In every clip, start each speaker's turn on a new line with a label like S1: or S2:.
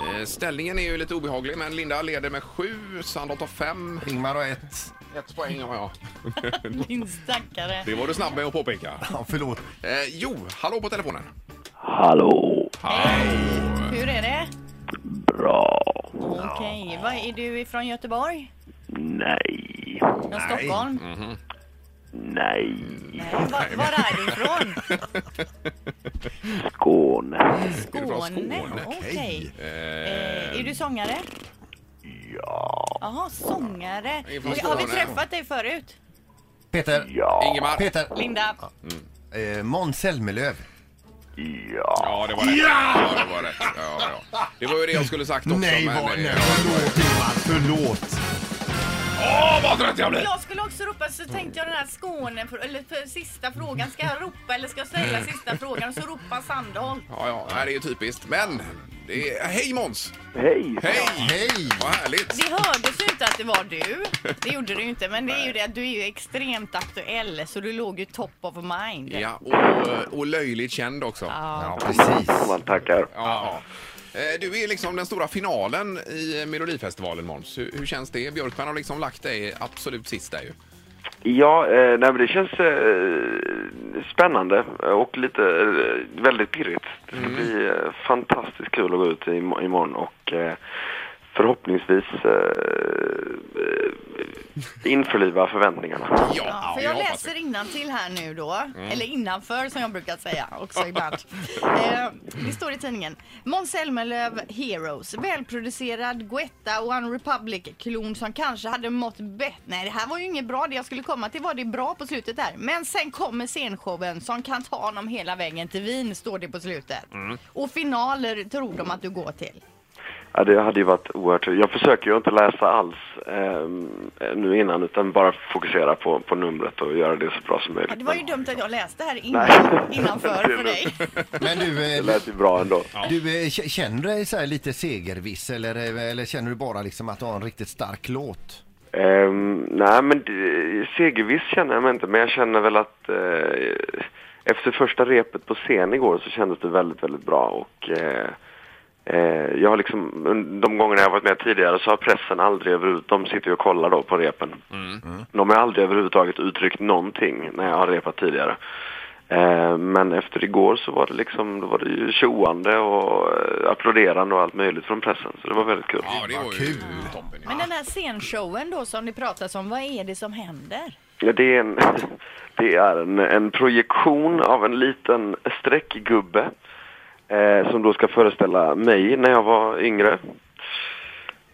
S1: Eh, Ställningen är ju lite obehaglig, men Linda leder med sju, Sandholt har fem.
S2: Ingmar har ett.
S1: Ett poäng har jag.
S3: Min stackare.
S1: Det var du snabb med att påpeka.
S2: Ja, förlåt.
S1: Eh, jo, hallå på telefonen.
S4: Hallå,
S1: Hej!
S3: Hur är det?
S4: bra,
S3: Okej, vad är du ifrån Göteborg?
S4: nej,
S3: Från Stockholm?
S4: nej,
S3: Nej, var, var är du ifrån?
S4: Skåne.
S1: från
S3: Skåne?
S1: Skåne,
S3: Okej. Eh, är du sångare?
S4: Ja,
S3: Jaha, sångare.
S1: Ifrån
S3: Och Har vi
S1: Skåne.
S3: träffat dig förut?
S2: Peter.
S4: ja,
S1: Ingemar.
S2: Peter.
S3: Linda?
S2: Eh, Måns Zelmerlöw.
S4: ja.
S1: Ja, det var rätt. Ja! det var rätt. Ja, ja. Det var ju det jag skulle sagt också.
S2: Nej,
S1: men,
S2: vad,
S1: eh,
S2: nej,
S1: ja.
S2: förlåt Ingmar, förlåt.
S1: Åh, vad trött jag blir!
S3: Jag skulle också ropa så tänkte jag den här Skåne, för, eller för sista frågan. Ska jag ropa eller ska jag ställa sista frågan? Och så ropa Sandholt.
S1: Ja, ja, nej, det är ju typiskt. Men, det är... hej Måns!
S4: hej.
S1: Hej!
S2: Hej!
S1: Vad härligt!
S3: Det hördes ju inte att det var du. Det gjorde det ju inte. Men det är ju det att du är ju extremt aktuell så du låg ju top of mind.
S1: Ja, och, och löjligt känd också. Ja.
S2: Ja, precis.
S4: Man tackar.
S1: Ja, Eh, Du är liksom den stora finalen i Melodifestivalen, Måns. Hur, hur känns det? Björkman har liksom lagt dig absolut sist där ju.
S4: Ja, eh, nej men det känns eh, spännande och lite eh, väldigt pirrigt. Det ska bli eh, fantastiskt kul att gå ut i, imorgon och eh, förhoppningsvis eh, eh, införliva förväntningarna.
S3: Ja, för
S1: vi
S3: jag
S1: hoppas
S3: läser
S1: det. Mm.
S3: innan till här nu då, eller innanför som jag brukar säga också ibland. eh, det står i tidningen. Måns Zelmerlöw Heroes, välproducerad Guetta One Republic-klon som kanske hade mått bättre. Nej, det här var ju inget bra. Det jag skulle komma till var det bra på slutet där. Men sen kommer scenshowen som kan ta honom hela vägen till Wien, står det på slutet.
S1: Mm.
S3: Och finaler tror de att du går till.
S4: Ja, det hade ju varit oerhört... Jag försöker ju inte läsa alls eh, nu innan utan bara fokusera på, på numret och göra det så bra som möjligt.
S3: Ja, det var ju dumt att jag läste här
S4: Nej.
S3: innan, innanför för dig.
S2: Men du, eh,
S4: Det lät ju bra ändå.
S2: du eh, k- känner du dig så här lite segerviss eller, eh, eller känner du bara liksom att du har en riktigt stark låt?
S4: Ehm, nej, men det- segerviss känner jag mig inte, men jag känner väl att eh, efter första repet på scen igår så kändes det väldigt, väldigt bra och eh, eh, jag har liksom, de gångerna jag har varit med tidigare så har pressen aldrig överhuvudtaget, de sitter ju och kollar då på repen. De har aldrig överhuvudtaget uttryckt någonting när jag har repat tidigare. Eh, men efter igår så var det liksom, då var det ju tjoande och eh, applåderande och allt möjligt från pressen, så det var väldigt kul.
S1: Ja, det var ju
S2: kul.
S1: toppen.
S3: Men
S1: Ja.
S3: den här scenshowen då som det pratas om, vad är det som händer?
S4: Ja, det är en, det är en, en projektion av en liten streckgubbe eh, som då ska föreställa mig när jag var yngre.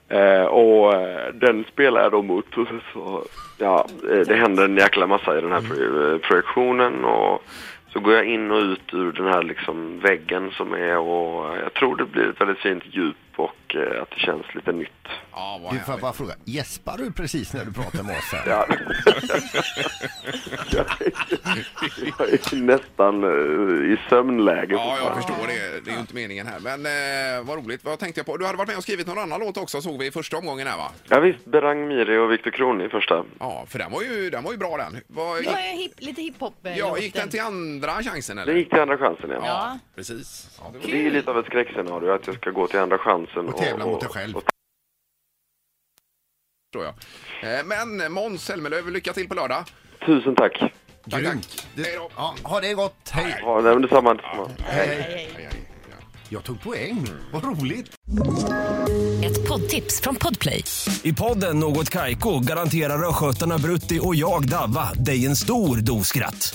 S4: Eh, och eh, den spelar jag då mot och så, så ja, eh, det händer en jäkla massa i den här pro- eh, projektionen och så går jag in och ut ur den här liksom väggen som är och jag tror det blir ett väldigt fint djup och eh, att det känns lite nytt.
S1: Ja, vad
S2: Du får jag
S1: härligt.
S2: bara fråga, gäspar du precis när du pratar med oss här?
S4: Ja. jag, är nästan eh, i sömnläge.
S1: Ja, jag förstår det. Det är ju inte meningen här. Men eh, vad roligt. Vad tänkte jag på? Du hade varit med och skrivit någon annan låt också såg vi i första omgången här va?
S4: Ja, visst, Berang Miri och Viktor Kron i första.
S1: Ja, för den var ju, den var ju bra den. Vad,
S3: Det var ju hip, lite hiphop eh,
S1: ja, gick den till andra chansen eller?
S4: Det gick till Andra chansen igen.
S3: Ja.
S1: Precis. Ja, det var-
S4: Det är ju lite av ett skräckscenario att jag ska gå till Andra chansen
S2: Och tävla mot dig själv.
S4: och-
S1: tror jag. Eh, Men Måns Zelmerlöw, lycka till på lördag.
S4: tusen tack.
S1: Tack,
S2: Grymt.
S1: tack.
S2: Det-
S1: Hej då.
S2: Ja, ha det gott, hej!
S4: Ja, nej, men detsamma. detsamma.
S2: hej.
S3: Hej, hej.
S2: Jag tog poäng, vad roligt!
S5: Ett poddtips från Podplay.
S6: I podden Något Kaiko garanterar östgötarna Brutti och jag, Davva, dig en stor dos skratt.